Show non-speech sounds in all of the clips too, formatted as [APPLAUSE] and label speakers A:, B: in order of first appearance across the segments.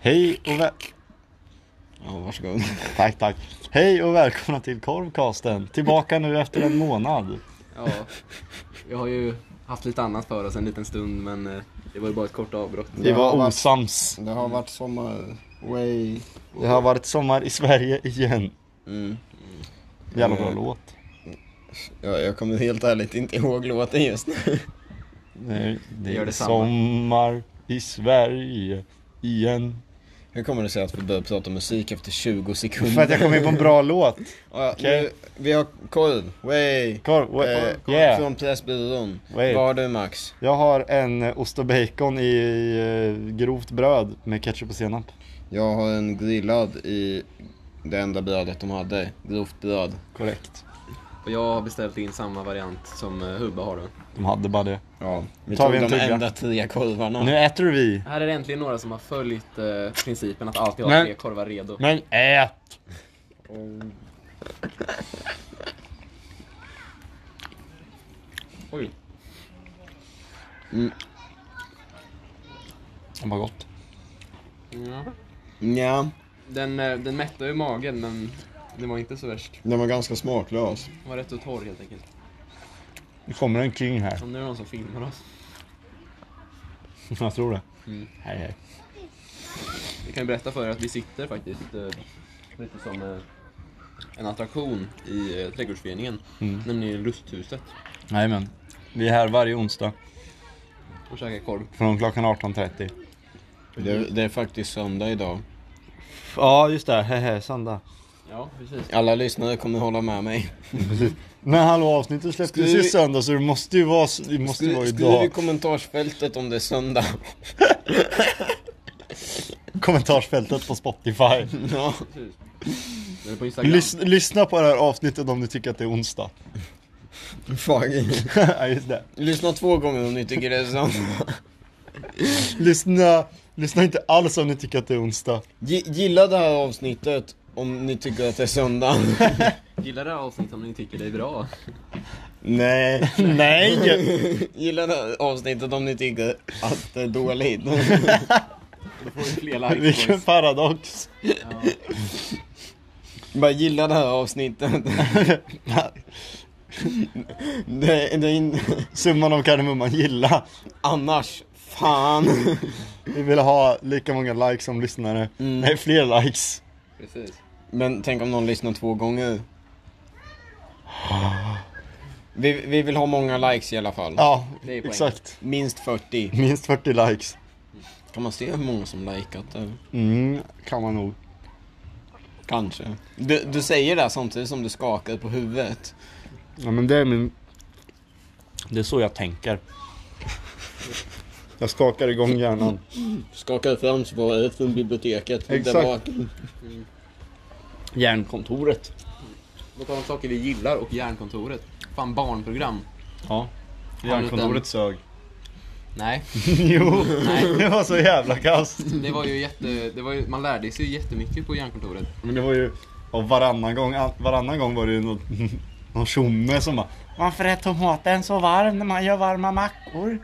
A: Hej och väl... Ja, varsågod. [LAUGHS] tack, tack. Hej och välkomna till Korvkasten. Tillbaka nu efter en månad.
B: Ja, vi har ju haft lite annat för oss en liten stund men eh, det var ju bara ett kort avbrott.
A: Vi
C: Det har
A: var
C: varit-
A: osams.
C: Det har varit sommar way.
A: Det har varit sommar i Sverige igen.
C: Mm.
A: Jävla bra låt.
C: Ja, jag kommer helt ärligt inte ihåg låten just nu.
A: Nej, Det
B: Gör
A: är
B: detsamma.
A: sommar i Sverige igen.
C: Hur kommer det sig att vi börjar prata musik efter 20 sekunder?
A: För att jag kom in på en bra låt.
C: ja,
A: Okej.
C: nu, vi har korv, way.
A: Korv, wa-
C: Eh,
A: yeah.
C: Från Pressbyrån.
A: Way.
C: Vad har du Max?
A: Jag har en ost och bacon i eh, grovt bröd med ketchup och senap.
C: Jag har en grillad i det enda brödet de hade. Grovt bröd.
A: Korrekt.
B: Och jag har beställt in samma variant som eh, Hubba har då.
A: De hade bara det.
C: Ja, vi
A: Tar
C: tog
A: vi en
C: de
A: tugga?
C: enda tre korvarna.
A: Nu äter vi.
B: Här är det äntligen några som har följt eh, principen att alltid ha
A: Men-
B: tre korvar redo.
A: Men ät!
B: Oj.
A: Det var gott.
B: Ja.
C: Nja,
B: Den, eh, den mättar ju magen men den var inte så värst.
C: den var ganska smaklös.
B: Den var rätt och torr helt enkelt.
A: Nu kommer en king här. [LAUGHS]
B: Om nu är det någon som filmar oss.
A: Jag tror det.
B: Mm.
A: Hej, hej.
B: Vi kan ju berätta för er att vi sitter faktiskt eh, lite som eh, en attraktion i eh, trädgårdsföreningen.
A: Mm.
B: Nämligen Lusthuset.
A: Jajamän. Vi är här varje onsdag
B: Och käkar korv.
A: från klockan 18.30.
C: Det,
A: Mm.
C: det är faktiskt söndag idag.
A: Ja, just det. Hehe, söndag.
B: Ja, precis.
C: Alla lyssnare kommer hålla med mig.
A: Men hallå, avsnittet släpptes
C: Skulle
A: ju
C: vi-
A: söndag så det måste ju vara, s- det måste ju vara
C: Skri- Skriv i
A: idag.
C: kommentarsfältet om det är söndag.
A: [LAUGHS] Kommentarsfältet på Spotify.
C: Ja.
B: precis. Den är på Instagram.
A: Lys, lyssna på det här avsnittet om ni tycker att det är onsdag. [LAUGHS]
C: Fuck.
A: ja, just det.
C: Lyssna två gånger om ni tycker det är söndag.
A: Lyssna, lyssna inte alls om ni tycker att det är onsdag.
C: G- gilla det här avsnittet om ni tycker att det
A: [LAUGHS]
C: är söndag.
B: Gillar det här avsnittet om ni tycker det är bra.
C: Nej.
A: [LAUGHS] Nej!
C: Gilla det här avsnittet om ni tycker att det är dåligt. [LAUGHS]
B: Då får vi fler
A: Vilken
B: likes.
A: paradox. [LAUGHS]
B: Ja.
C: Bara gilla det här avsnittet. [LAUGHS] Det, det är in... [LAUGHS]
A: Summan av kardemumman, gilla.
C: Annars, fan. [LAUGHS]
A: Vi vill ha lika många likes som lyssnare.
C: Mm.
A: Nej, fler likes.
B: Precis.
C: Men tänk om någon lyssnar
A: [GASPS]
C: två gånger. Vi, vi vill ha många likes i alla fall.
A: Ja,
B: Det är poängen.
A: exakt.
C: Minst 40.
A: Minst 40 likes.
C: Kan man se hur många som likat det?
A: Mm, kan man nog.
C: Kanske. Du, du säger det här samtidigt som du skakar på huvudet.
A: Ja men det är min... Det är så jag tänker. Jag skakar igång hjärnan.
C: Skakar fram svaret från biblioteket.
A: Exakt.
C: bak.
A: Hjärnkontoret.
B: På tal om saker vi gillar och Järnkontoret. Fan, barnprogram.
A: Ja.
B: Hjärnkontoret
A: sög. [LAUGHS]
B: Nej,
A: jo,
B: Nej.
A: det var så jävla kast.
B: det var ju jätte... Det var ju, man lärde sig ju jättemycket på Järnkontoret.
A: Men det var ju... Och varannan gång, varannan gång var det ju någon, någon tjomme som bara Varför är tomaten så varm när man gör varma mackor?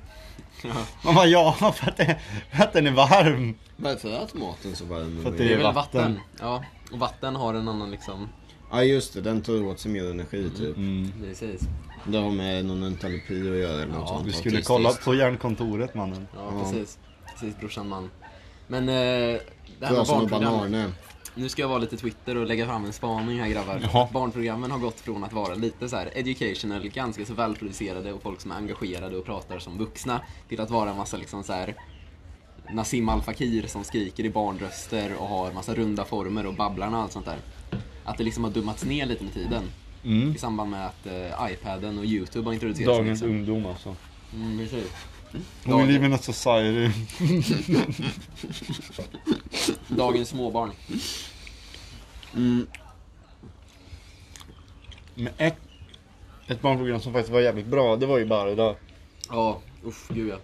B: Ja.
A: Man bara ja, för att, det, för att den är varm.
C: Varför är tomaten så varm?
A: För att
B: Det
A: det-
B: är väl
A: vatten.
B: vatten. Ja, och vatten har en annan liksom...
C: Ja just det, den tar åt sig mer energi typ.
A: Mm,
B: Precis.
C: Det har med någon entalopi att göra eller något
B: Ja,
C: sånt.
A: Vi skulle
C: autistiskt.
A: kolla på hjärnkontoret mannen.
B: Ja,
C: Ja.
B: precis. Precis, brorsan man. Men eh, det här med
C: Brasan och
B: barnprogram.
C: bananer.
B: Nu ska jag vara lite Twitter och lägga fram en spaning här grabbar.
A: Jaha.
B: Barnprogrammen har gått från att vara lite så här educational, ganska så välproducerade och folk som är engagerade och pratar som vuxna till att vara en massa liksom så här Nassim Al Fakir som skriker i barnröster och har massa runda former och babblarna och allt sånt där. Att det liksom har dummats ner lite med tiden
A: Mm.
B: i samband med att eh, iPaden och YouTube har introducerats.
A: Dagens
B: liksom.
A: ungdom alltså.
B: mm, precis.
A: We
B: Dagens,
A: live in a society.
B: dagens småbarn.
C: Mm.
A: Men ett, ett barnprogram som faktiskt var jävligt bra, det var ju bara idag.
B: Ja, usch gud ja.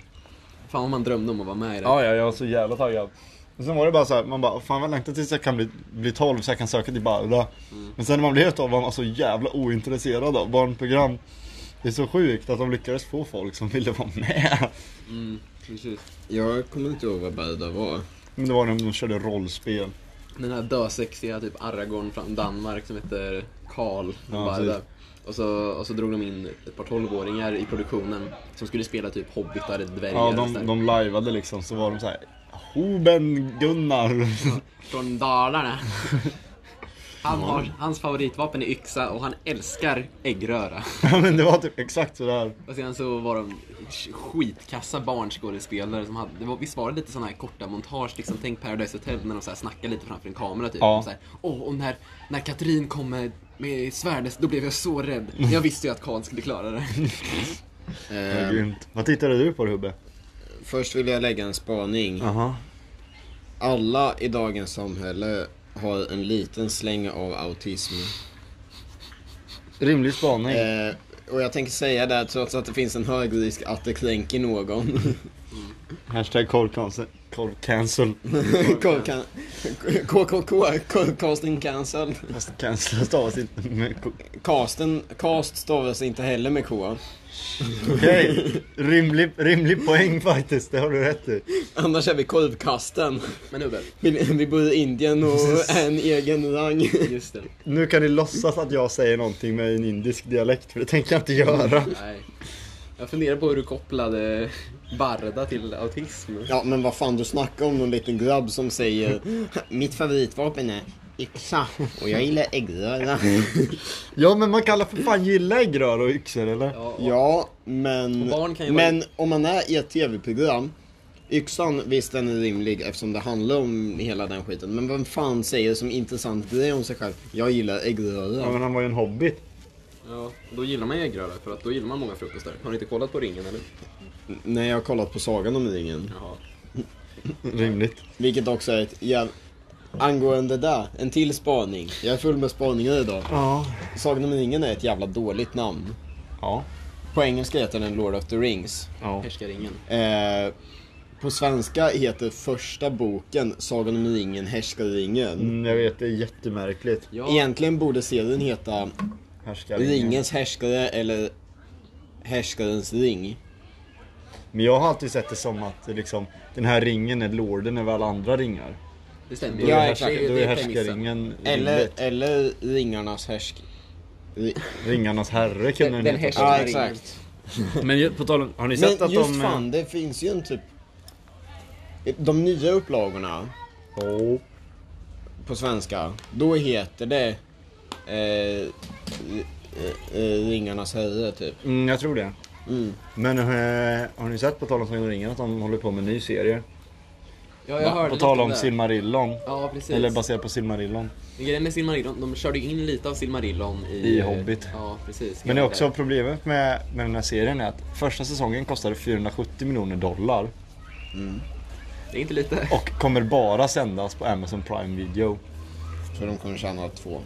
B: Fan vad man drömde om att vara med i det.
A: Ja, ja, jag var så jävla taggad. Och sen var det bara så här, man bara, fan vad jag längtar tills jag kan bli, bli 12 så jag kan söka till Barda. Men sen när man blev 12 var man så jävla ointresserad av barnprogram. Det är så sjukt att de lyckades få folk som ville vara med.
B: Mm, precis.
C: Jag kommer inte ihåg vad Berda var.
A: Men det var när de körde rollspel.
B: Den här dösexiga typ Aragorn från Danmark som heter Karl.
A: Ja,
B: bara
A: precis.
B: där. och, så, och så drog de in ett par 12-åringar i produktionen som skulle spela typ hobbitar, dvärgar
A: Ja,
B: och sådär.
A: de, de liveade liksom, så var de så här. Hoben Gunnar. [LAUGHS]
B: Från Dalarna. Han har, hans favoritvapen är yxa och han älskar äggröra.
A: Ja, men det var typ exakt sådär.
B: Och sen så var de skitkassa barnskådespelare som hade, det var, visst var det lite sådana här korta montage liksom, tänk Paradise Hotel när de så här snackar lite framför en kamera typ.
A: Ja.
B: De Så här, Åh, och när, när Katrin kom med, med svärdet, då blev jag så rädd. Men Jag visste ju att Karl skulle
A: [LAUGHS]
B: klara det.
A: Vad
C: Eh,
A: grymt. Vad tittade du på Hubbe?
C: först vill jag lägga en spaning.
A: Aha.
C: Alla i dagens samhälle har en liten släng av autism.
A: Rimlig spaning.
C: Eh, och jag tänker säga det här trots att det finns en hög risk att det kränker någon. [LAUGHS]
A: Hashtag korvcancel. Korvcancel.
C: Korkan- KKK, casting cancel.
A: Fast cancel stavas inte med K.
C: Casten, cast stavas inte heller med K.
A: Okej. Rimlig, rimlig poäng faktiskt, det har du rätt i.
C: Annars är vi korvkasten.
B: Men Hubbe,
C: Vi, vi bor i Indien och är en egen rang.
B: just det.
A: Nu kan ni låtsas att jag säger någonting med en indisk dialekt, för det tänker jag inte göra.
B: Nej. Jag funderar på hur du kopplade Barda till autism.
C: Ja men vad fan, du snackar om någon liten grabb som säger Mitt favoritvapen är yxa och jag gillar äggröra. [LAUGHS]
A: Ja men man kallar för fan gilla äggrör och yxor eller?
B: Ja, och-
C: Ja, men,
B: Och barn kan ju vara-
C: men om man är i ett tv-program Yxan, visst den är rimlig eftersom det handlar om hela den skiten. Men vem fan säger som intressant grej om sig själv? Jag gillar äggröra.
A: Ja men han var ju en hobbit.
B: ja, då gillar man äggröra för att då gillar man många frukostar. Har ni inte kollat på ringen eller?
C: Nej, jag har kollat på Sagan om ringen.
B: Jaha.
A: Rimligt.
C: Vilket också är ett jäv... Angående där, en till spaning. Jag är full med spaningar idag.
A: Ja.
C: Sagan om ringen är ett jävla dåligt namn.
A: Ja.
C: På engelska heter den Lord of the Rings.
A: Ja.
B: Härskaringen.
C: Eh, på svenska heter första boken Sagan om ringen, Härskaringen.
A: Mm, jag vet, det är jättemärkligt.
B: Ja,
C: Egentligen borde serien heta
A: Härskaringen.
C: Ringens härskare eller Härskarens ring.
A: Men jag har alltid sett det som att det liksom, den här ringen är lorden över alla andra ringar.
B: det stämmer
A: Då
B: ju.
C: Ja,
A: är,
C: exakt.
A: härska,
B: Det är-
A: då
B: det
A: är
B: är premissen.
A: härskaringen
C: Eller,
A: rimligt.
C: eller Ringarnas härsk... Ri...
A: Ringarnas herre kunde den,
B: Den- den
A: heta.
B: härskar-
C: Ja, exakt.
A: Men ju- på tal om, har ni
C: Men
A: sett
C: just
A: att de... eh,
C: fan, det finns ju en typ... De nya upplagorna
A: åh.
C: på svenska, då heter det... Eh, eh, eh, Ringarnas herre, typ.
A: Mm, jag tror det.
C: Mm.
A: Men eh, har ni sett på tal om Sagan om ringen att de håller på med en ny serie?
B: Ja, jag hörde
A: på tal
B: lite
A: om
B: där.
A: Silmarillion.
B: Ja, precis.
A: Eller baserat på Silmarillion.
B: Grejen med Silmarillion, de körde ju in lite av Silmarillion i...
A: I Hobbit.
B: Ja, precis.
A: Men det är också problemet med, med den här serien är att första säsongen kostade 470 miljoner dollar
B: Det är inte lite...
A: och kommer bara sändas på Amazon Prime Video.
C: Så de kommer tjäna två.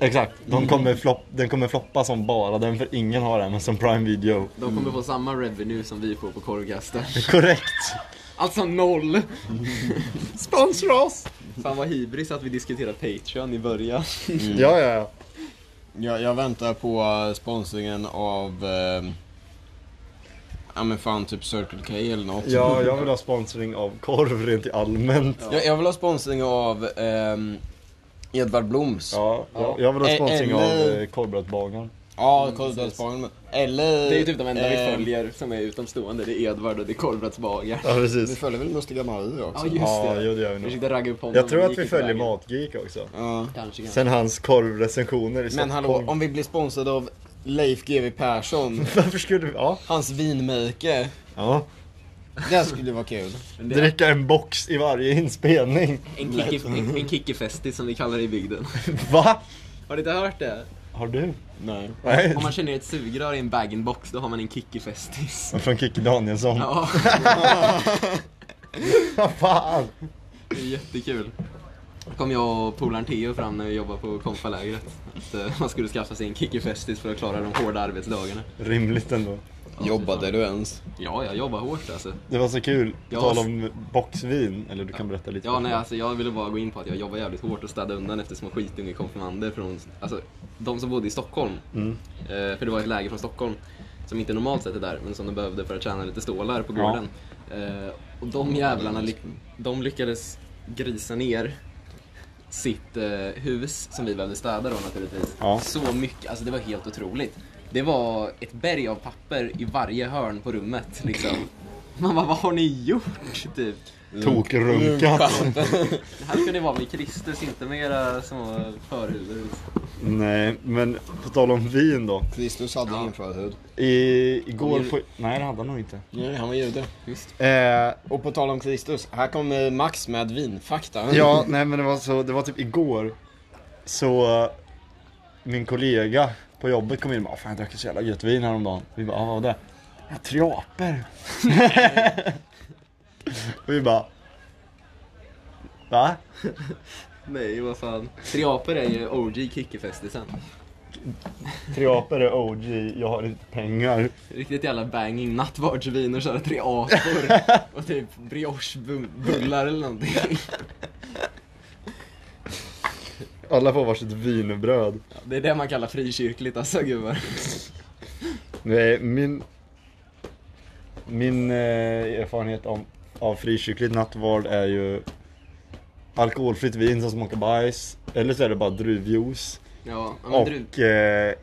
A: Exakt, de kommer flopp, den kommer floppa som bara den för ingen har Amazon Prime Video. [LAUGHS]
B: De kommer få samma revenue som vi får på korvkasten.
A: Korrekt!
B: Alltså noll! [LAUGHS] Sponsra oss! Fan vad hybris att vi diskuterade Patreon i början.
A: Ja, ja, ja.
C: Jag, jag väntar på eh, sponsringen av... Eh, ja men fan typ Circle K eller något.
A: Ja, jag vill ha sponsring av korv rent allmänt. Ja,
C: Jag, jag vill ha sponsring av ehm, Edvard Bloms. Ja,
A: jag, jag vill ha
C: Ä-
A: sponsring av
C: eller-
A: eh, korvbrödsbagaren.
C: ja
B: Mm, precis.
C: Korvdalsbaren. Eller...
B: Det är ju typ de enda vi
C: ehm,
A: Eh.
B: följer som är utomstående. Det är Edvard och det är Korvbrödsbagaren.
A: Ja,
C: Vi
A: precis.
C: följer väl Mustiga Mario
B: Ja,
C: också?
B: just
A: Ja,
B: det.
A: jo, det gör vi
B: Vi
A: nog.
B: försökte ragga upp honom.
A: Jag tror
B: men
A: att
B: det
A: vi
B: gick inte
A: följer
B: vägen.
A: Matgeek också.
C: Ja.
B: Kanske, kanske.
A: Sen hans korvrecensioner i
C: Men hallå,
A: Stockholm.
C: om vi blir sponsrade av Leif GW
B: [LAUGHS]
C: Persson,
A: [LAUGHS] Varför skulle vi... Ja.
C: hans vinmärke.
A: ja.
C: Det skulle vara kul.
B: Men det är
A: Dricka en box i varje inspelning. [LAUGHS]
B: en kicki- en- en kickifestis som vi kallar det i bygden.
A: Va?
B: Har du inte hört det?
A: Har du?
C: Nej.
A: Nej.
B: Om man känner ett sugrör i en bag-in-box, då har man en kickifestis.
A: Från Kikki Danielsson.
B: Ja,
A: [LAUGHS] Vad fan!
B: [LAUGHS] det är jättekul. Då kom jag och polaren Theo fram när vi jobbade på konfalägret. Att eh, man skulle skaffa sig en kickifestis för att klara de hårda arbetsdagarna.
A: Rimligt ändå.
C: Jobbade du ens?
B: Ja, jag jobbar hårt alltså.
A: Det var så kul. På
B: Ja.
A: tal om boxvin. Eller du kan berätta lite.
B: Ja,
A: om
B: nej,
A: det.
B: alltså, jag ville bara gå in på att jag jobbar jävligt hårt och städa undan efter små skitungekonfirmander från, alltså, de som bodde i Stockholm.
A: Mm.
B: Eh, för det var ett läger från Stockholm, som inte normalt sett är där, men som de behövde för att tjäna lite stålar på
A: Ja.
B: gården. Eh, och de jävlarna, ly- de lyckades grisa ner sitt eh, hus som vi behövde städa då naturligtvis.
A: Ja.
B: Så mycket, alltså det var helt otroligt. Det var ett berg av papper i varje hörn på rummet liksom. Man bara, vad har ni gjort? Typ.
A: Tokrunkat.
B: Mm. Här ska ni vara med Kristus, inte med era små förhuvuden.
A: [LAUGHS]
B: liksom.
A: Nej, men på tal om vin då.
C: Kristus hade
B: Ja.
C: ingen förhud.
A: I, igår
B: Mm.
A: på... Nej, det hade han nog inte.
C: Nej, han var jude.
B: Just.
A: Eh,
C: Och på tal om Kristus, här kommer Max med vinfakta.
A: Ja, nej men det var så, det var typ igår Så eh, min kollega på jobbet kom in och bara Fan jag drack så jävla gött vin häromdagen Vi bara, "Ah, vad var det? Ja, triaper [LAUGHS] Och vi bara Va?
B: Nej, vad fan. Triaper är ju OG Kickefestisen.
A: Triaper är OG, jag har inte pengar
B: Riktigt jävla banging nattvardsvin och köra triapor [LAUGHS] och typ briochebullar eller någonting.
A: Alla får varsitt vinbröd
B: Ja, Det är det man kallar frikyrkligt alltså gubbar.
A: Nej, min Min eh, erfarenhet om, av frikyrklig nattvard är ju Alkoholfritt vin som smakar bajs Eller så är det bara druvjuice
B: Ja, ja, men du,
A: Och eh,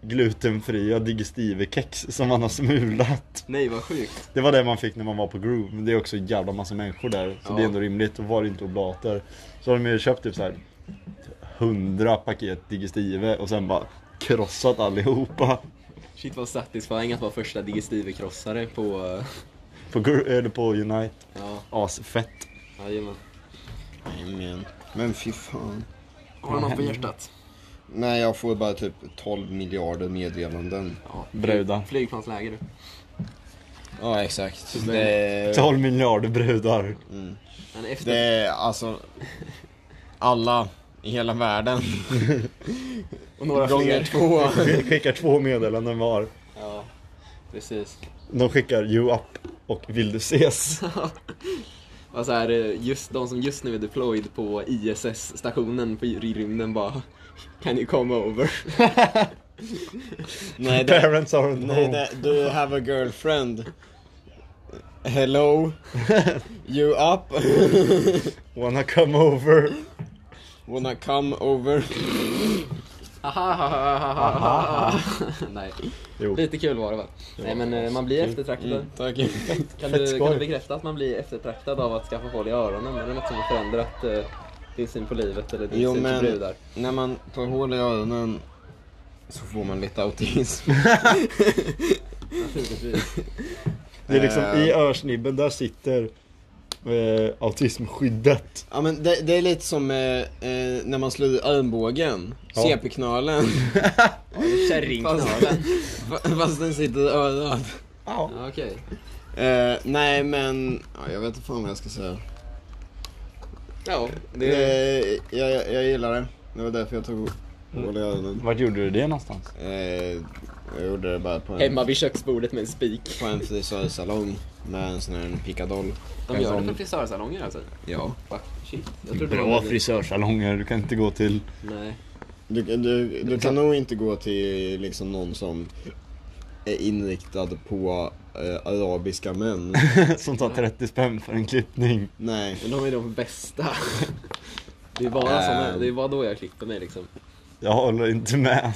A: glutenfria digestivekex som man har smulat.
B: nej vad sjukt.
A: Det var det man fick när man var på Groove. Men det är också en jävla massa människor där. Så
B: Ja.
A: det är ändå rimligt. Och var det inte oblater. Så har de ju köpt typ så här 100 paket digestive och sen bara krossat allihopa.
B: Shit vad satisfying att vara första digestivekrossare på... eh,
A: På, Gro- eller på Unite.
B: Ja,
A: Asfett.
B: jajamän.
C: Amen. Men fy fan.
B: Har du något på hjärtat?
C: Nej, jag får bara typ 12 miljarder meddelanden.
B: Ja,
A: Brudar.
B: Flygplansläger du.
C: Ja, exakt. Det,
A: 12 miljarder brudar.
B: Men efter...
C: det är alltså alla i hela världen.
B: Och några fler.
C: Gånger två.
A: Skickar två meddelanden var.
B: Ja, precis.
A: De skickar you up och vill du ses.
B: Och så här, eh, just de som just nu är deployed på ISS-stationen på i rymden bara Can you come over?
C: Nej, det,
A: Parents aren't
C: nej
A: home.
C: det, do you have a girlfriend? Hello? You up? [LAUGHS]
A: Wanna come over.
C: Wanna come over? [LAUGHS]
B: [LAUGHS] Nej,
A: Jo.
B: lite kul var det va? Nej men eh, man blir eftertraktad.
C: Tack.
B: Kan,
A: Fett
B: du,
A: skoj.
B: kan du bekräfta att man blir eftertraktad av att skaffa hål i öronen? Är det något som har förändrat eh, din syn på livet eller din
C: Jo,
B: syn på
C: men-
B: brudar?
C: När man tar hål i öronen så får man lite autism.
B: Naturligtvis.
A: Det är liksom i örsnibben, där sitter eh, autismskyddet.
C: Ja men det, det är lite som eh, eh, när man slår i armbågen,
A: Ja.
C: CP-knölen,
B: Kärringknölen.
C: fa- [LAUGHS] fast den sitter i örat.
A: Ja.
B: [LAUGHS] Ja, Okej.
C: Eh, nej men, ja, jag vet inte fan vad jag ska säga.
B: Ja, det...
C: Eh, jag, jag, jag gillar det, det var därför jag tog hål i öronen.
A: Vart gjorde du det någonstans?
C: Eh, jag gjorde det bara på en,
B: Hemma vid köksbordet med en spik.
C: på en frisörsalong med en sån här pickadoll.
B: De
C: En
B: gör det
C: sån-
B: på frisörsalonger alltså?
C: Ja.
B: Va? Shit. Jag trodde det
A: Typ Bra
B: var...
A: frisörsalonger, du kan inte gå till... [LAUGHS]
B: Nej.
C: Du, du, du kan nog inte gå till liksom någon som är inriktad på eh, arabiska [LAUGHS] män.
A: Som tar 30 spänn för en klippning.
C: Nej.
B: Men de är de bästa. Det är bara
C: Ehm.
B: såna, det är bara då jag klipper mig liksom.
A: Jag håller inte med.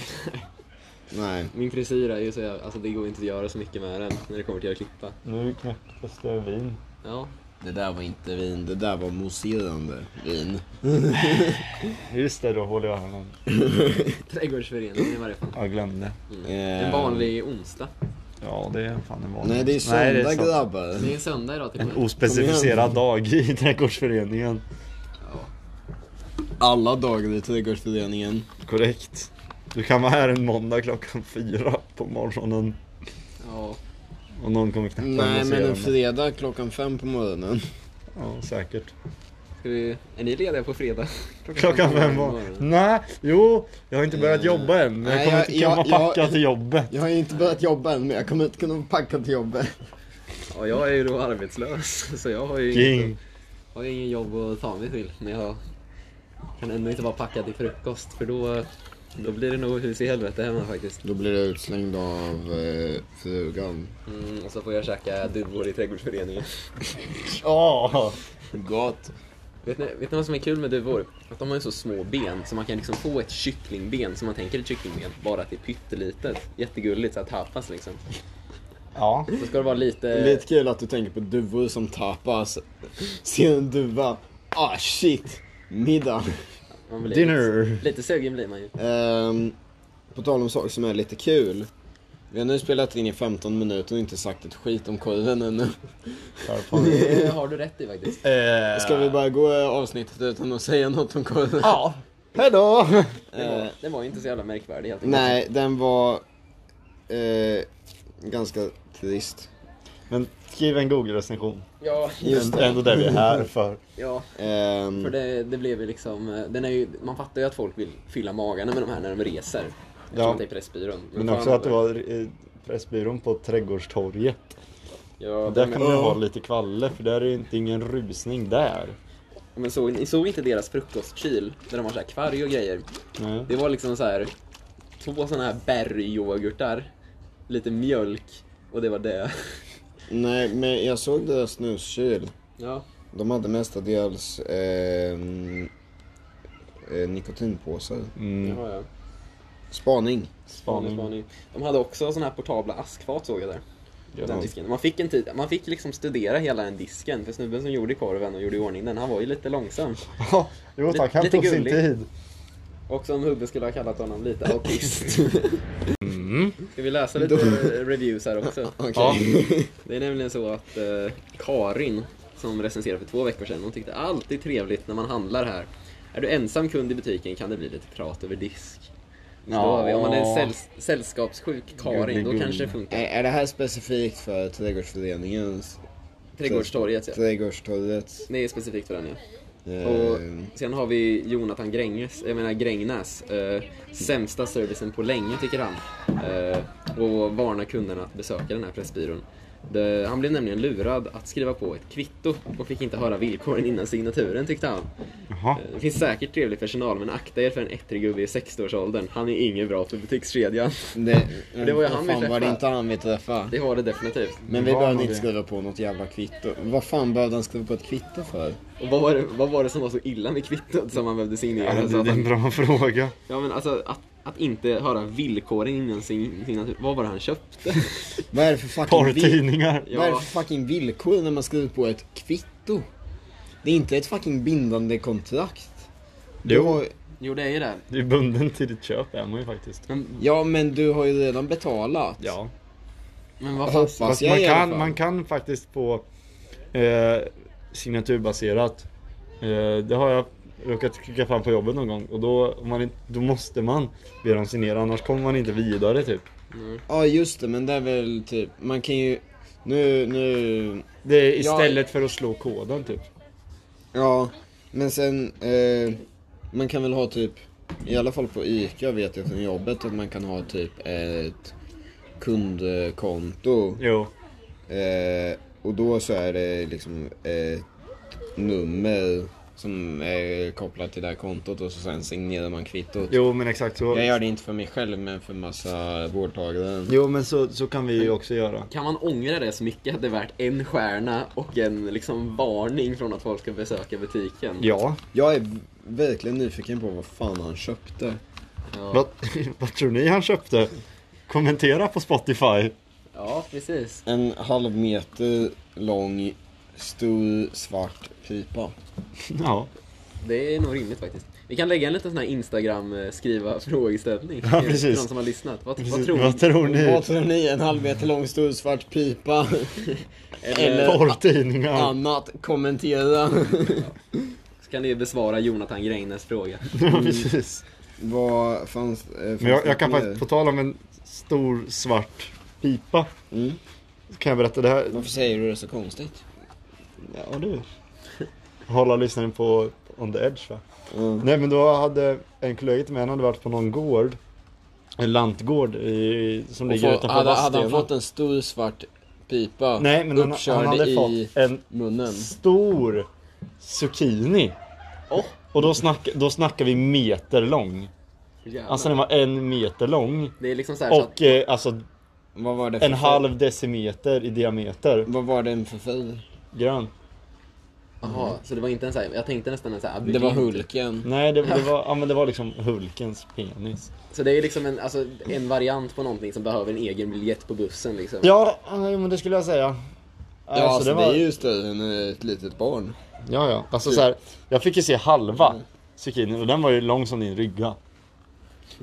C: Nej.
B: Min frisyr är ju så jag, alltså det går inte att göra så mycket med den när det kommer till att klippa.
A: Nu knäcktes det vin.
B: Ja.
C: Det där var inte vin, det där var mousserande [LAUGHS] vin.
A: Just det, då håller jag honom.
B: Trädgårdsföreningen i varje fall.
A: Jag glömde.
C: Eh,
B: En
A: Ehm.
B: vanlig onsdag.
A: Ja, det är fan en vanlig...
C: Nej det är söndag
A: Nej, det är sant.
C: grabbar.
B: Det är söndag idag till och
A: En
B: med.
A: ospecificerad dag i [LAUGHS] trädgårdsföreningen.
C: Alla dagar i trädgårdsföreningen.
A: Korrekt. Du kan vara här en måndag klockan fyra på morgonen
B: Ja.
A: och någon kommer knäcka
C: Nej men en
A: mousserande.
C: fredag klockan fem på morgonen.
A: Ja, säkert.
B: Ska vi, är ni lediga på fredag?
A: Klockan fem var... Nej, jo, jag har inte börjat jobba än. Men jag
C: Nej,
A: kommer
C: jag-
A: inte kunna
C: jag-
A: packa
C: jag-
A: till jobbet.
C: Jag har ju inte börjat jobba än men jag kommer inte kunna packa till jobbet.
B: Ja, jag är ju då arbetslös. Så jag har ju
A: King.
B: inget, har ju ingen jobb att ta mig till. Men jag kan ändå inte vara packad till frukost för då, då blir det nog hus i helvete hemma faktiskt.
C: Då blir jag utslängd av eh, frugan.
B: Mm, och så får jag käka duvor i trädgårdsföreningen.
A: Ja,
C: Gott.
B: Vet ni, vet ni vad som är kul med duvor? Att de har ju så små ben så man kan liksom få ett kycklingben som man tänker ett kycklingben, bara att det är pyttelitet. Jättegulligt, såhär tapas liksom.
A: Ja.
B: Så ska det vara lite...
C: Lite kul att du tänker på duvor som tapas. Ser en duva. Ah shit! Middag.
B: man blir
A: Dinner.
B: Lite, lite sugen blir man
A: [LAUGHS]
B: ju.
C: Ehm, på tal om saker som är lite kul. Vi har nu spelat in i 15 minuter och inte sagt ett skit om korven ännu.
A: Ja, fan.
B: Det har du rätt i faktiskt.
A: Eh,
C: Ska vi bara gå eh, avsnittet utan att säga något om korven? Eh,
A: Ja.
C: Hejdå!
B: Det var,
A: Eh.
B: det var ju inte så jävla märkvärdigt helt enkelt.
C: Nej, den var eh, ganska trist.
A: Men skriv en Google-recension.
B: Ja,
C: Just
A: Det är ändå det vi är här för.
B: ja.
C: Ehm,
B: För det, det blev ju liksom, eh, den är ju, man fattar ju att folk vill fylla magarna med de här när de reser. Eftersom
A: Ja.
B: att det är Pressbyrån.
A: Men
B: fan,
A: också att det var eh, Pressbyrån på Trädgårdstorget.
B: Ja,
A: Där
B: men-
A: kan man ju ha lite kvalle för där är ju inte ingen rusning där.
B: Men såg ni såg inte deras frukostkyl? Där de har så här kvarg och grejer.
A: Nej.
B: Det var liksom så här två såna här bergyoghurtar, lite mjölk och det var det.
C: Nej, men jag såg deras snuskyl.
B: Ja.
C: De hade mestadels ehm, eh, nikotinpåsar.
A: Mm.
B: ja, ja.
C: Spaning.
B: Spaning,
A: Spaning.
B: spaning. De hade också såna här portabla askfat såg jag där. på Den
A: Ja.
B: disken. Man fick, en tid, man fick liksom studera hela den disken, för snubben som gjorde korven och gjorde i ordning den, han var ju lite långsam.
A: Ja, jo tack, han
B: Lite
A: tog sin
B: gullig.
A: tid.
B: Och som Hubbe skulle ha kallat honom, lite autist. Ska vi läsa lite reviews här också?
C: Okej.
A: Ja.
B: Det är nämligen så att eh, Karin, som recenserade för två veckor sedan, hon tyckte alltid trevligt när man handlar här. Är du ensam kund i butiken kan det bli lite prat över disk. Så då har vi, om man är en säll, sällskapssjuk Karin,
A: Gullig
B: då
A: gull.
B: kanske det funkar.
C: Är, är det här specifikt för Trädgårdsföreningens?
B: Trädgårdstorget,
C: eh,
B: ja.
C: Trädgårdstorgets?
B: Det är specifikt för den ja.
A: Eh.
B: Och
C: ehm,
B: sen har vi Jonathan Gränges, jag menar Grängnäs. Eh, sämsta servicen på länge tycker han. Eh, och varnar kunderna att besöka den här Pressbyrån. Det, han blev nämligen lurad att skriva på ett kvitto och fick inte höra villkoren innan signaturen tyckte han.
A: Jaha.
B: Eh, Det finns säkert trevlig personal men akta er för en ettrig gubbe i 60-årsåldern. Han är inget bra för butikskedjan. [LAUGHS]
C: det,
B: det var ju han
C: vad
B: vi
C: fan var det
B: träffade.
C: inte han vi träffade?
B: Det var det definitivt.
C: Men vi
A: Var
C: behövde
A: nog
C: inte
A: det.
C: skriva på något jävla kvitto. Vad fan behövde han skriva på ett kvitto för?
B: Och vad var det, vad var det som var så illa med kvittot som man behövde signera?
A: Ja,
B: så
A: det,
B: att
A: det är en
B: han,
A: bra fråga.
B: ja men alltså att, att inte höra villkoren innan sin signatur. Vad var det han köpte?
C: Vad är det för fucking, vill-
A: Porrtidningar.
B: Ja.
C: vad är det för fucking villkor när man skriver på ett kvitto? Det är inte ett fucking bindande kontrakt. Du
A: Jo.
C: har,
B: [LAUGHS] Jo det är ju det.
A: Du är bunden till ditt köp är man ju faktiskt.
B: Men,
C: ja, men du har ju redan betalat.
A: Ja.
B: men vad fan.
C: Hoppas
A: Fast
C: alltså, jag
A: man
C: i alla
A: kan,
C: fall.
A: man kan faktiskt få eh, signaturbaserat. Eh, det har jag råkat klicka fram på jobbet någon gång och då, om man, inte- då måste man be dem signera annars kommer man inte vidare typ.
C: Ja, just det, men det är väl typ, man kan ju, nu, nu,
A: Det är
C: Ja.
A: istället för att slå koden typ.
C: ja, men sen, eh, man kan väl ha typ, i alla fall på ICA vet jag från jobbet att man kan ha typ ett kundkonto.
A: Jo.
C: Eh, och då så är det liksom ett nummer som är kopplat till det här kontot och så sen signerar man kvittot.
A: Jo men exakt så.
C: Jag gör det inte för mig själv men för massa vårdtagare.
A: Jo men så, så kan vi ju också göra.
B: Kan man ångra det så mycket att det är värt en stjärna och en liksom varning från att folk ska besöka butiken?
A: Ja.
C: Jag är verkligen nyfiken på vad fan han köpte.
A: Vad, [LAUGHS] vad tror ni han köpte? Kommentera på Spotify. [LAUGHS]
B: ja precis.
C: En halv meter lång stor svart pipa.
A: Ja.
B: Det är nog rimligt faktiskt. Vi kan lägga en liten sån här Instagram-skriva [LAUGHS] frågeställning
A: Ja, precis.
B: till de som har lyssnat. Vad, vad
A: Precis.
B: tror
A: Vad
B: ni?
A: tror ni?
C: Vad tror ni? En halv meter lång stor
A: [LAUGHS]
C: svart pipa? Eller
A: Porrtidningar.
C: annat? Kommentera.
B: Så kan ni besvara Jonathan
A: [LAUGHS]
B: Greines fråga.
A: [LAUGHS] Ja,
C: mm.
A: precis.
C: vad fanns, eh, fanns
A: Men jag,
C: det
A: jag kan
C: mer?
A: faktiskt, på tal om en stor svart pipa.
C: Mm.
A: så Kan jag berätta det här?
C: Varför säger du det så konstigt?
A: Ja du. [LAUGHS] Hålla lyssnaren på On the Edge va?
C: Mm.
A: Nej men då hade en kollega till mig, han hade varit på någon gård. En lantgård i, som
C: Och
A: ligger
C: få,
A: utanför
C: hade, hade han
A: Vadstena.
C: fått en stor svart pipa
A: Nej men han,
C: uppkörd
A: han hade
C: i
A: fått en
C: munnen?
A: stor zucchini.
B: Åh,
A: Och då, snack, då snackar vi meter lång.
B: jävlar.
A: Alltså den var en meter lång.
B: det är liksom så här så att
A: Och eh, alltså
C: Vad var det för
A: en halv decimeter i diameter.
C: Vad var den för färg?
A: Grön.
B: Jaha, så det var inte en så här, jag tänkte nästan en så här
C: Det var
B: abugint.
C: Hulken.
A: Nej, det, det, var, ja, men det var liksom Hulkens penis.
B: Så det är liksom en, alltså, en variant på någonting som behöver en egen biljett på bussen liksom.
A: Ja, nej, men det skulle jag säga.
C: Ja, alltså, det, är ju större än ett litet barn.
A: Ja, ja. Alltså så här, jag fick ju se halva
C: Mm.
A: zucchinin och den var ju lång som din rygga.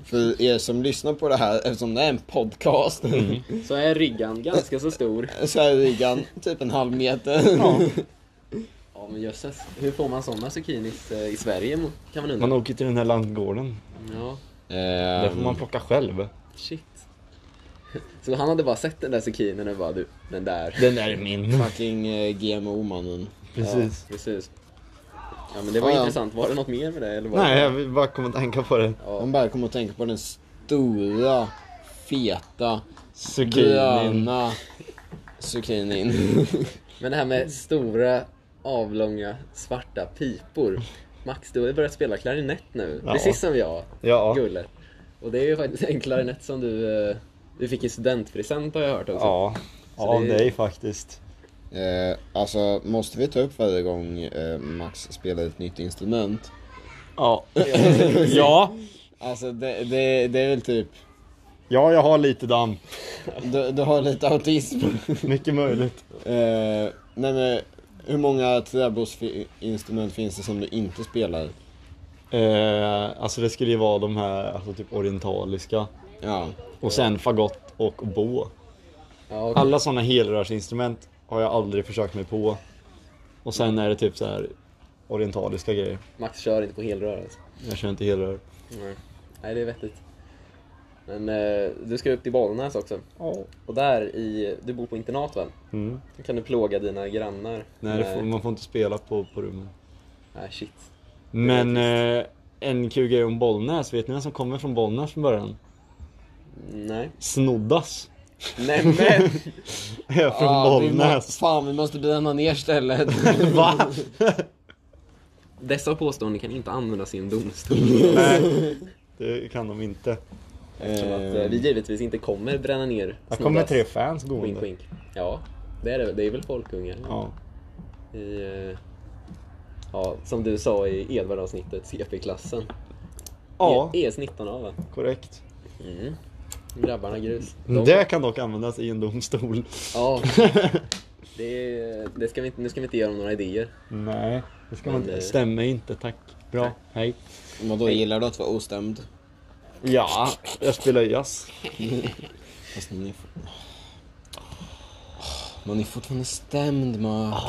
C: För er som lyssnar på det här, eftersom det är en podcast,
A: Mm.
B: Så är ryggan ganska så stor.
C: [LAUGHS] så är ryggan typ en halv meter.
B: Ja men jösses, hur får man sådana zucchinis eh, i Sverige mo- kan man
A: [LAUGHS]
B: undra?
A: Man åker till den här lantgården.
B: Ja,
A: Där får
C: Ehm,
A: man plocka själv.
B: shit. [LAUGHS] Så han hade bara sett den där zucchinin och bara du, den där.
A: Den är min.
C: fucking eh, GMO-mannen.
A: Precis.
B: Ja, precis. Ja men det var
C: Ja, ja.
B: intressant, var det något mer med det eller? Var
A: Nej,
B: det...
A: jag vill bara komma och tänka på det.
B: Ja.
C: Man bara kommer att tänka på den stora, feta,
A: Zucchinin.
C: gröna zucchinin.
B: Men det här med stora, avlånga, svarta pipor. Max, du har ju börjat spela klarinett nu,
A: Ja.
B: precis som jag.
A: Ja.
B: Gulle. Och det är ju faktiskt [LAUGHS] en klarinett som du, eh, du fick i studentpresent har jag hört
C: alltså.
B: också.
A: Ja.
B: Så
A: Ja,
B: det är-
A: nej faktiskt.
C: [LAUGHS] eh, alltså, måste vi ta upp varje gång eh, Max spelar ett nytt instrument? [LAUGHS]
A: Ja. ja.
C: Alltså, det, det, det är väl typ,
A: Ja, jag har lite damm.
C: du, du har lite autism.
A: Mycket möjligt.
C: [LAUGHS] eh, nej men, hur många träblåsinstrument finns det som du inte spelar?
A: Eh, alltså det skulle ju vara de här alltså, typ orientaliska.
C: Ja.
A: Och sen fagott och bå.
B: Ja, okej.
A: Alla sådana helrörsinstrument har jag aldrig försökt mig på. Och sen är det typ så här orientaliska grejer.
B: Max kör inte på helrör alltså.
A: Jag kör inte helrör.
B: Nej. Nej, det är vettigt. Men eh, du ska upp till Bollnäs också.
A: Ja.
B: Och där i, du bor på internat väl?
A: Mm.
B: Då kan du plåga dina grannar.
A: Nej, det får, man får inte spela på, på rummen.
B: Nej, shit.
A: Men eh, en kul grej om Bollnäs, vet ni vem som kommer från Bollnäs från början?
B: Nej.
A: Snoddas! [LAUGHS]
B: Nej men!
A: Är från
C: Ah, vi må-
A: Bollnäs.
C: fan, vi måste bränna ner stället.
A: [LAUGHS] Va?
B: Dessa påståenden kan inte användas i
A: [LAUGHS]
B: en domstol.
A: Eh. Nej, det kan de inte.
B: Eftersom att eh, vi givetvis inte kommer bränna ner
A: Här kommer
B: Snoddas.
A: tre fans
B: Wink
A: gående.
B: wink. Ja, det är det. Det är väl folkungar.
A: Ja.
B: I, eh, ja, som du sa i Edvard-avsnittet, CP-klassen.
A: ja,
B: E- ES19A va?
A: korrekt.
B: Mm. Grabbarna grus. De-
A: Mm, Det kan dock användas i en domstol. [LAUGHS]
B: Ja. Det, det ska vi inte, nu ska vi inte ge dem några idéer.
A: Nej, det ska man
B: Men,
A: inte.
B: eh,
A: Stämmer inte, tack. Bra, hej.
C: [LAUGHS] Vadå, gillar du att vara ostämd?
A: Ja, jag spelar jazz.
C: Fast man är, for... man är fortfarande stämd Max.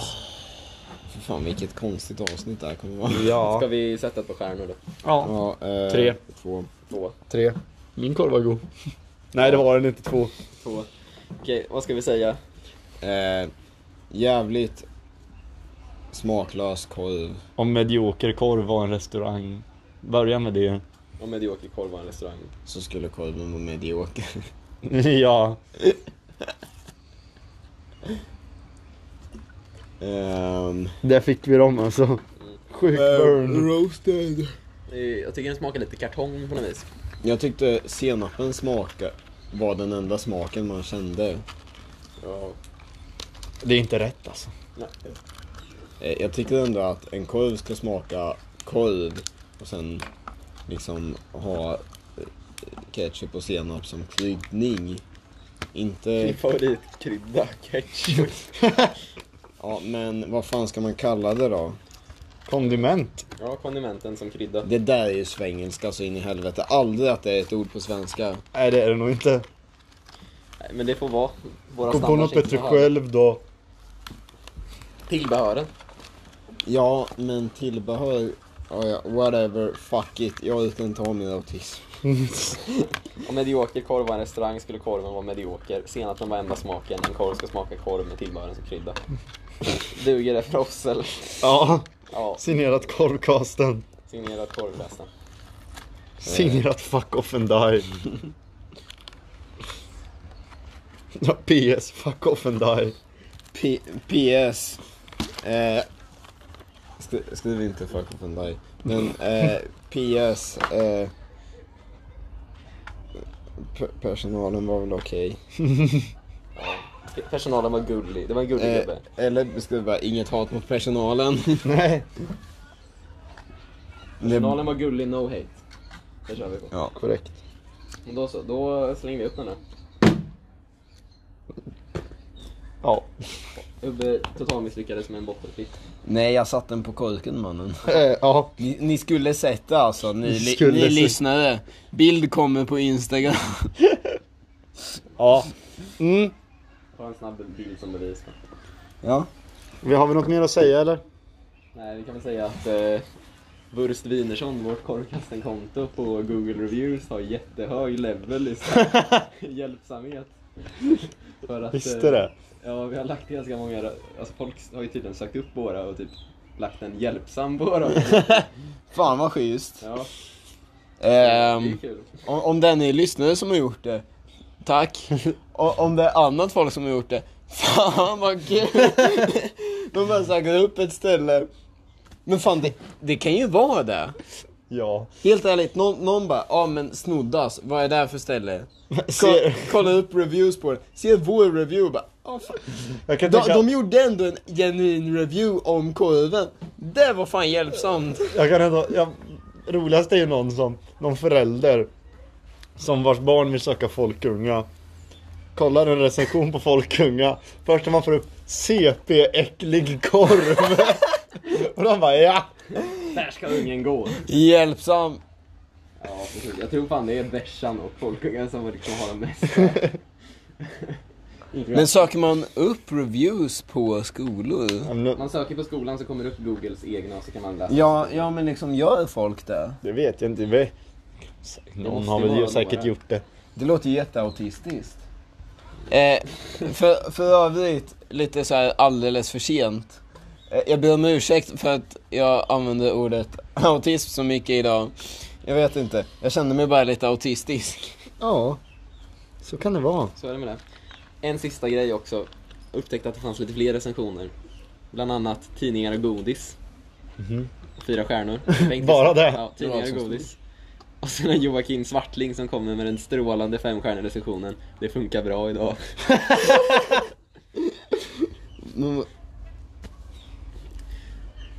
C: För fan vilket konstigt avsnitt det här kommer vara.
B: Ska
A: Ja.
B: vi sätta ett par stjärnor då?
A: ja.
C: Ja, eh,
A: Tre.
C: Två.
B: Två.
A: Tre. Min korv var god. [LAUGHS] Nej, det var den inte. Två.
B: Två. Okej, vad ska vi säga?
C: Eh, jävligt smaklös korv.
A: Om medioker korv var en restaurang. Börja med det.
B: Om medioker korv var en restaurang.
C: Så skulle korven vara medioker.
A: [LAUGHS]
C: [LAUGHS]
A: ja.
C: Ehm,
A: Där fick vi dem alltså. Sjuk burn.
C: roasted.
B: Eh, Jag tycker den smakar lite kartong på något vis.
C: Jag tyckte senapen smaka var den enda smaken man kände.
B: Ja.
A: Det är inte rätt alltså.
C: Eh, Jag tycker ändå att en korv ska smaka korv och sen liksom ha eh, ketchup och senap som kryddning.
B: Min
A: Mm.
C: Inte,
B: favoritkrydda, ketchup.
A: [LAUGHS]
C: ja men vad fan ska man kalla det då?
A: Kondiment.
B: Ja, kondimenten som krydda.
C: Det där är ju svengelska så in i helvete. Aldrig att det är ett ord på svenska.
A: Nej, det är det nog inte.
B: Nej, men det får vara våra
A: Kom på något bättre
B: standardtillbehör.
A: själv då. [LAUGHS]
B: Tillbehören.
C: Ja, men tillbehör, ja, ja, whatever, fuck it. Jag orkar inte ha min autism.
B: Om medioker korv var en restaurang skulle korven vara medioker. Senapen var enda smaken. En korv ska smaka korv med tillbehören som krydda. Duger det för oss eller?
A: ja.
B: Ja,
A: Signerat korvkasten.
B: signerat korvläsaren.
A: Signerat fuck off and die. Ja, PS, fuck off and die.
C: P- PS. Eh, skri- skriv inte fuck off and die. Men eh, PS. Eh, pe- personalen var väl okej.
B: Ja. Personalen var gullig. Det var en gullig
C: Eh,
B: gubbe.
C: eller ska det vara inget hat mot personalen? [LAUGHS]
A: Nej.
B: Personalen var gullig, no hate. Det kör vi på.
C: Ja.
A: Korrekt.
B: Och Då så, då slänger vi upp den nu.
A: Ja.
B: Ubbe totalt misslyckades med en bottenfitt.
C: Nej, jag satte den på korken [LAUGHS] mannen.
A: Eh, ja.
C: Ni, ni skulle sett det alltså, ni,
A: Ni
C: li,
A: skulle
C: ni
A: sett.
C: lyssnade. Bild kommer på Instagram. [LAUGHS]
A: Ja. Mm.
B: Ta en snabb bild som bevis. på.
C: Ja.
A: Vi har vi något mer att säga eller?
B: Nej, vi kan väl säga att eh, Wurst Wienersson, vårt korvkastenkonto på Google Reviews, har jättehög level i sin
C: [LAUGHS]
B: hjälpsamhet. För att,
A: Visste
B: eh,
A: det.
B: Ja, vi har lagt ganska många, alltså folk har ju tydligen sökt upp våra och typ lagt en hjälpsam på
C: [LAUGHS]
B: våra.
C: Fan vad schysst.
B: Ja, det är
C: Ehm,
B: kul.
C: om, om det är ni lyssnare som har gjort det, tack.
A: [LAUGHS]
C: Och, om det är annat folk som har gjort det, fan vad
A: [LAUGHS]
C: kul. De bara söker upp ett ställe. Men fan, det, det kan ju vara det.
A: [LAUGHS] Ja.
C: Helt ärligt, någon, någon bara, ja ah, men snoddas, vad är det här för ställe?
A: Se,
C: Kolla, kolla upp reviews på den, se vår review bara, ah, fan.
A: jag kan
C: De,
A: tänka,
C: de gjorde ändå en genuin review om korven. Det var fan hjälpsamt.
A: jag kan ändå, jag, roligast är ju någon som, någon förälder som vars barn vill söka folkunga. Kollar en recension på folkunga. Först när man får upp CP äcklig korv. [LAUGHS] Och de bara ja.
B: Där ska ungen gå.
C: Hjälpsam.
B: Ja, precis. Jag tror fan det är bärsan och folkungen som liksom har den mest.
C: [LAUGHS]
B: [LAUGHS]
C: Men söker man upp reviews på skolor?
A: Ja, men nu-
B: Man söker på skolan så kommer det upp Googles egna och så kan man läsa.
C: Ja, ja men liksom gör folk det?
A: Det vet jag inte. Vi, någon
B: måste
A: har
B: ju
A: väl
B: vara
A: säkert
B: några.
A: gjort det.
C: Det låter ju jätteautistiskt. Eh, för, för övrigt, lite så här alldeles för sent. Eh, jag ber om ursäkt för att jag använde ordet autism så mycket idag. Jag vet inte, jag kände mig bara lite autistisk.
A: Ja. Så kan det vara.
B: Så är det med det. En sista grej också. Upptäckte att det fanns lite fler recensioner. Bland annat tidningar och godis. Fyra stjärnor. Bengt-
A: Bara det?
B: Ja,
C: Det
B: tidningar
C: var
B: och
C: alltså
B: godis. Och sen är Joakim Svartling som kommer med den strålande femstjärniga recensionen. Det funkar bra idag.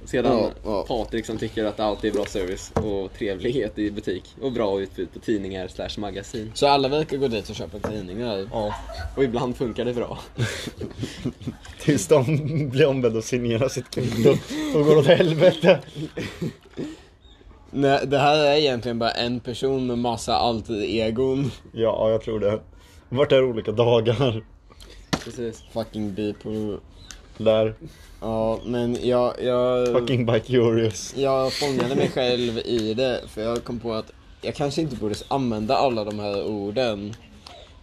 B: Sedan
C: Ja, ja.
B: Patrik som tycker att det alltid är bra service och trevlighet i butik. Och bra utbud på tidningar slash magasin.
C: Så alla verkar gå dit och köpa tidningar?
A: Ja.
B: Och ibland funkar det bra.
A: Tills de [LAUGHS] blir ombedda att signera sitt kvitto. Då går det åt helvete.
C: Nej, det här är egentligen bara en person med massa alltid-egon.
A: Ja, jag tror det. Vart är olika dagar?
B: Precis.
C: Fucking bipolar.
A: Där.
C: Ja, men jag, jag,
A: Fucking by curious.
C: jag fångade mig själv i det för jag kom på att jag kanske inte borde använda alla de här orden.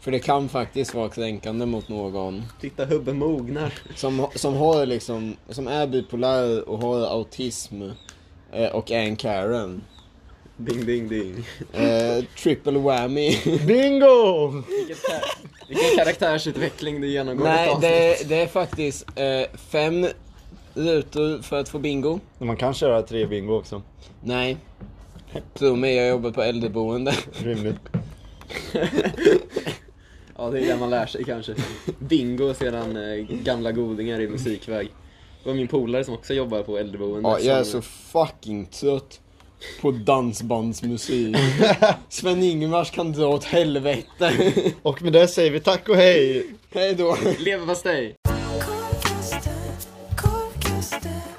C: För det kan faktiskt vara kränkande mot någon
B: Titta hubben mognar.
C: som, som har liksom, som är bipolär och har autism eh, och är en Karen.
B: Ding ding ding.
C: Eh, triple whammy.
A: Bingo!
B: Vilket kar- Vilken karaktärsutveckling du genomgår
C: Nej,
B: ett avsnitt.
C: det, det är faktiskt eh, fem rutor för att få bingo.
A: Men Man kan köra tre bingo också.
C: Nej. Tro mig, jag jobbar på äldreboende.
A: Rimligt.
B: Ja, det är det man lär sig kanske. Bingo sedan eh, gamla godingar i musikväg. Det var min polare som också jobbar på äldreboende.
C: Ja, jag är
B: som-
C: så fucking trött på dansbandsmusik. Sven-Ingvars kan dra åt helvete.
A: Och med det säger vi tack och hej!
C: Hej då.
B: Leverpastej!
D: Korvkastad, korvkastad.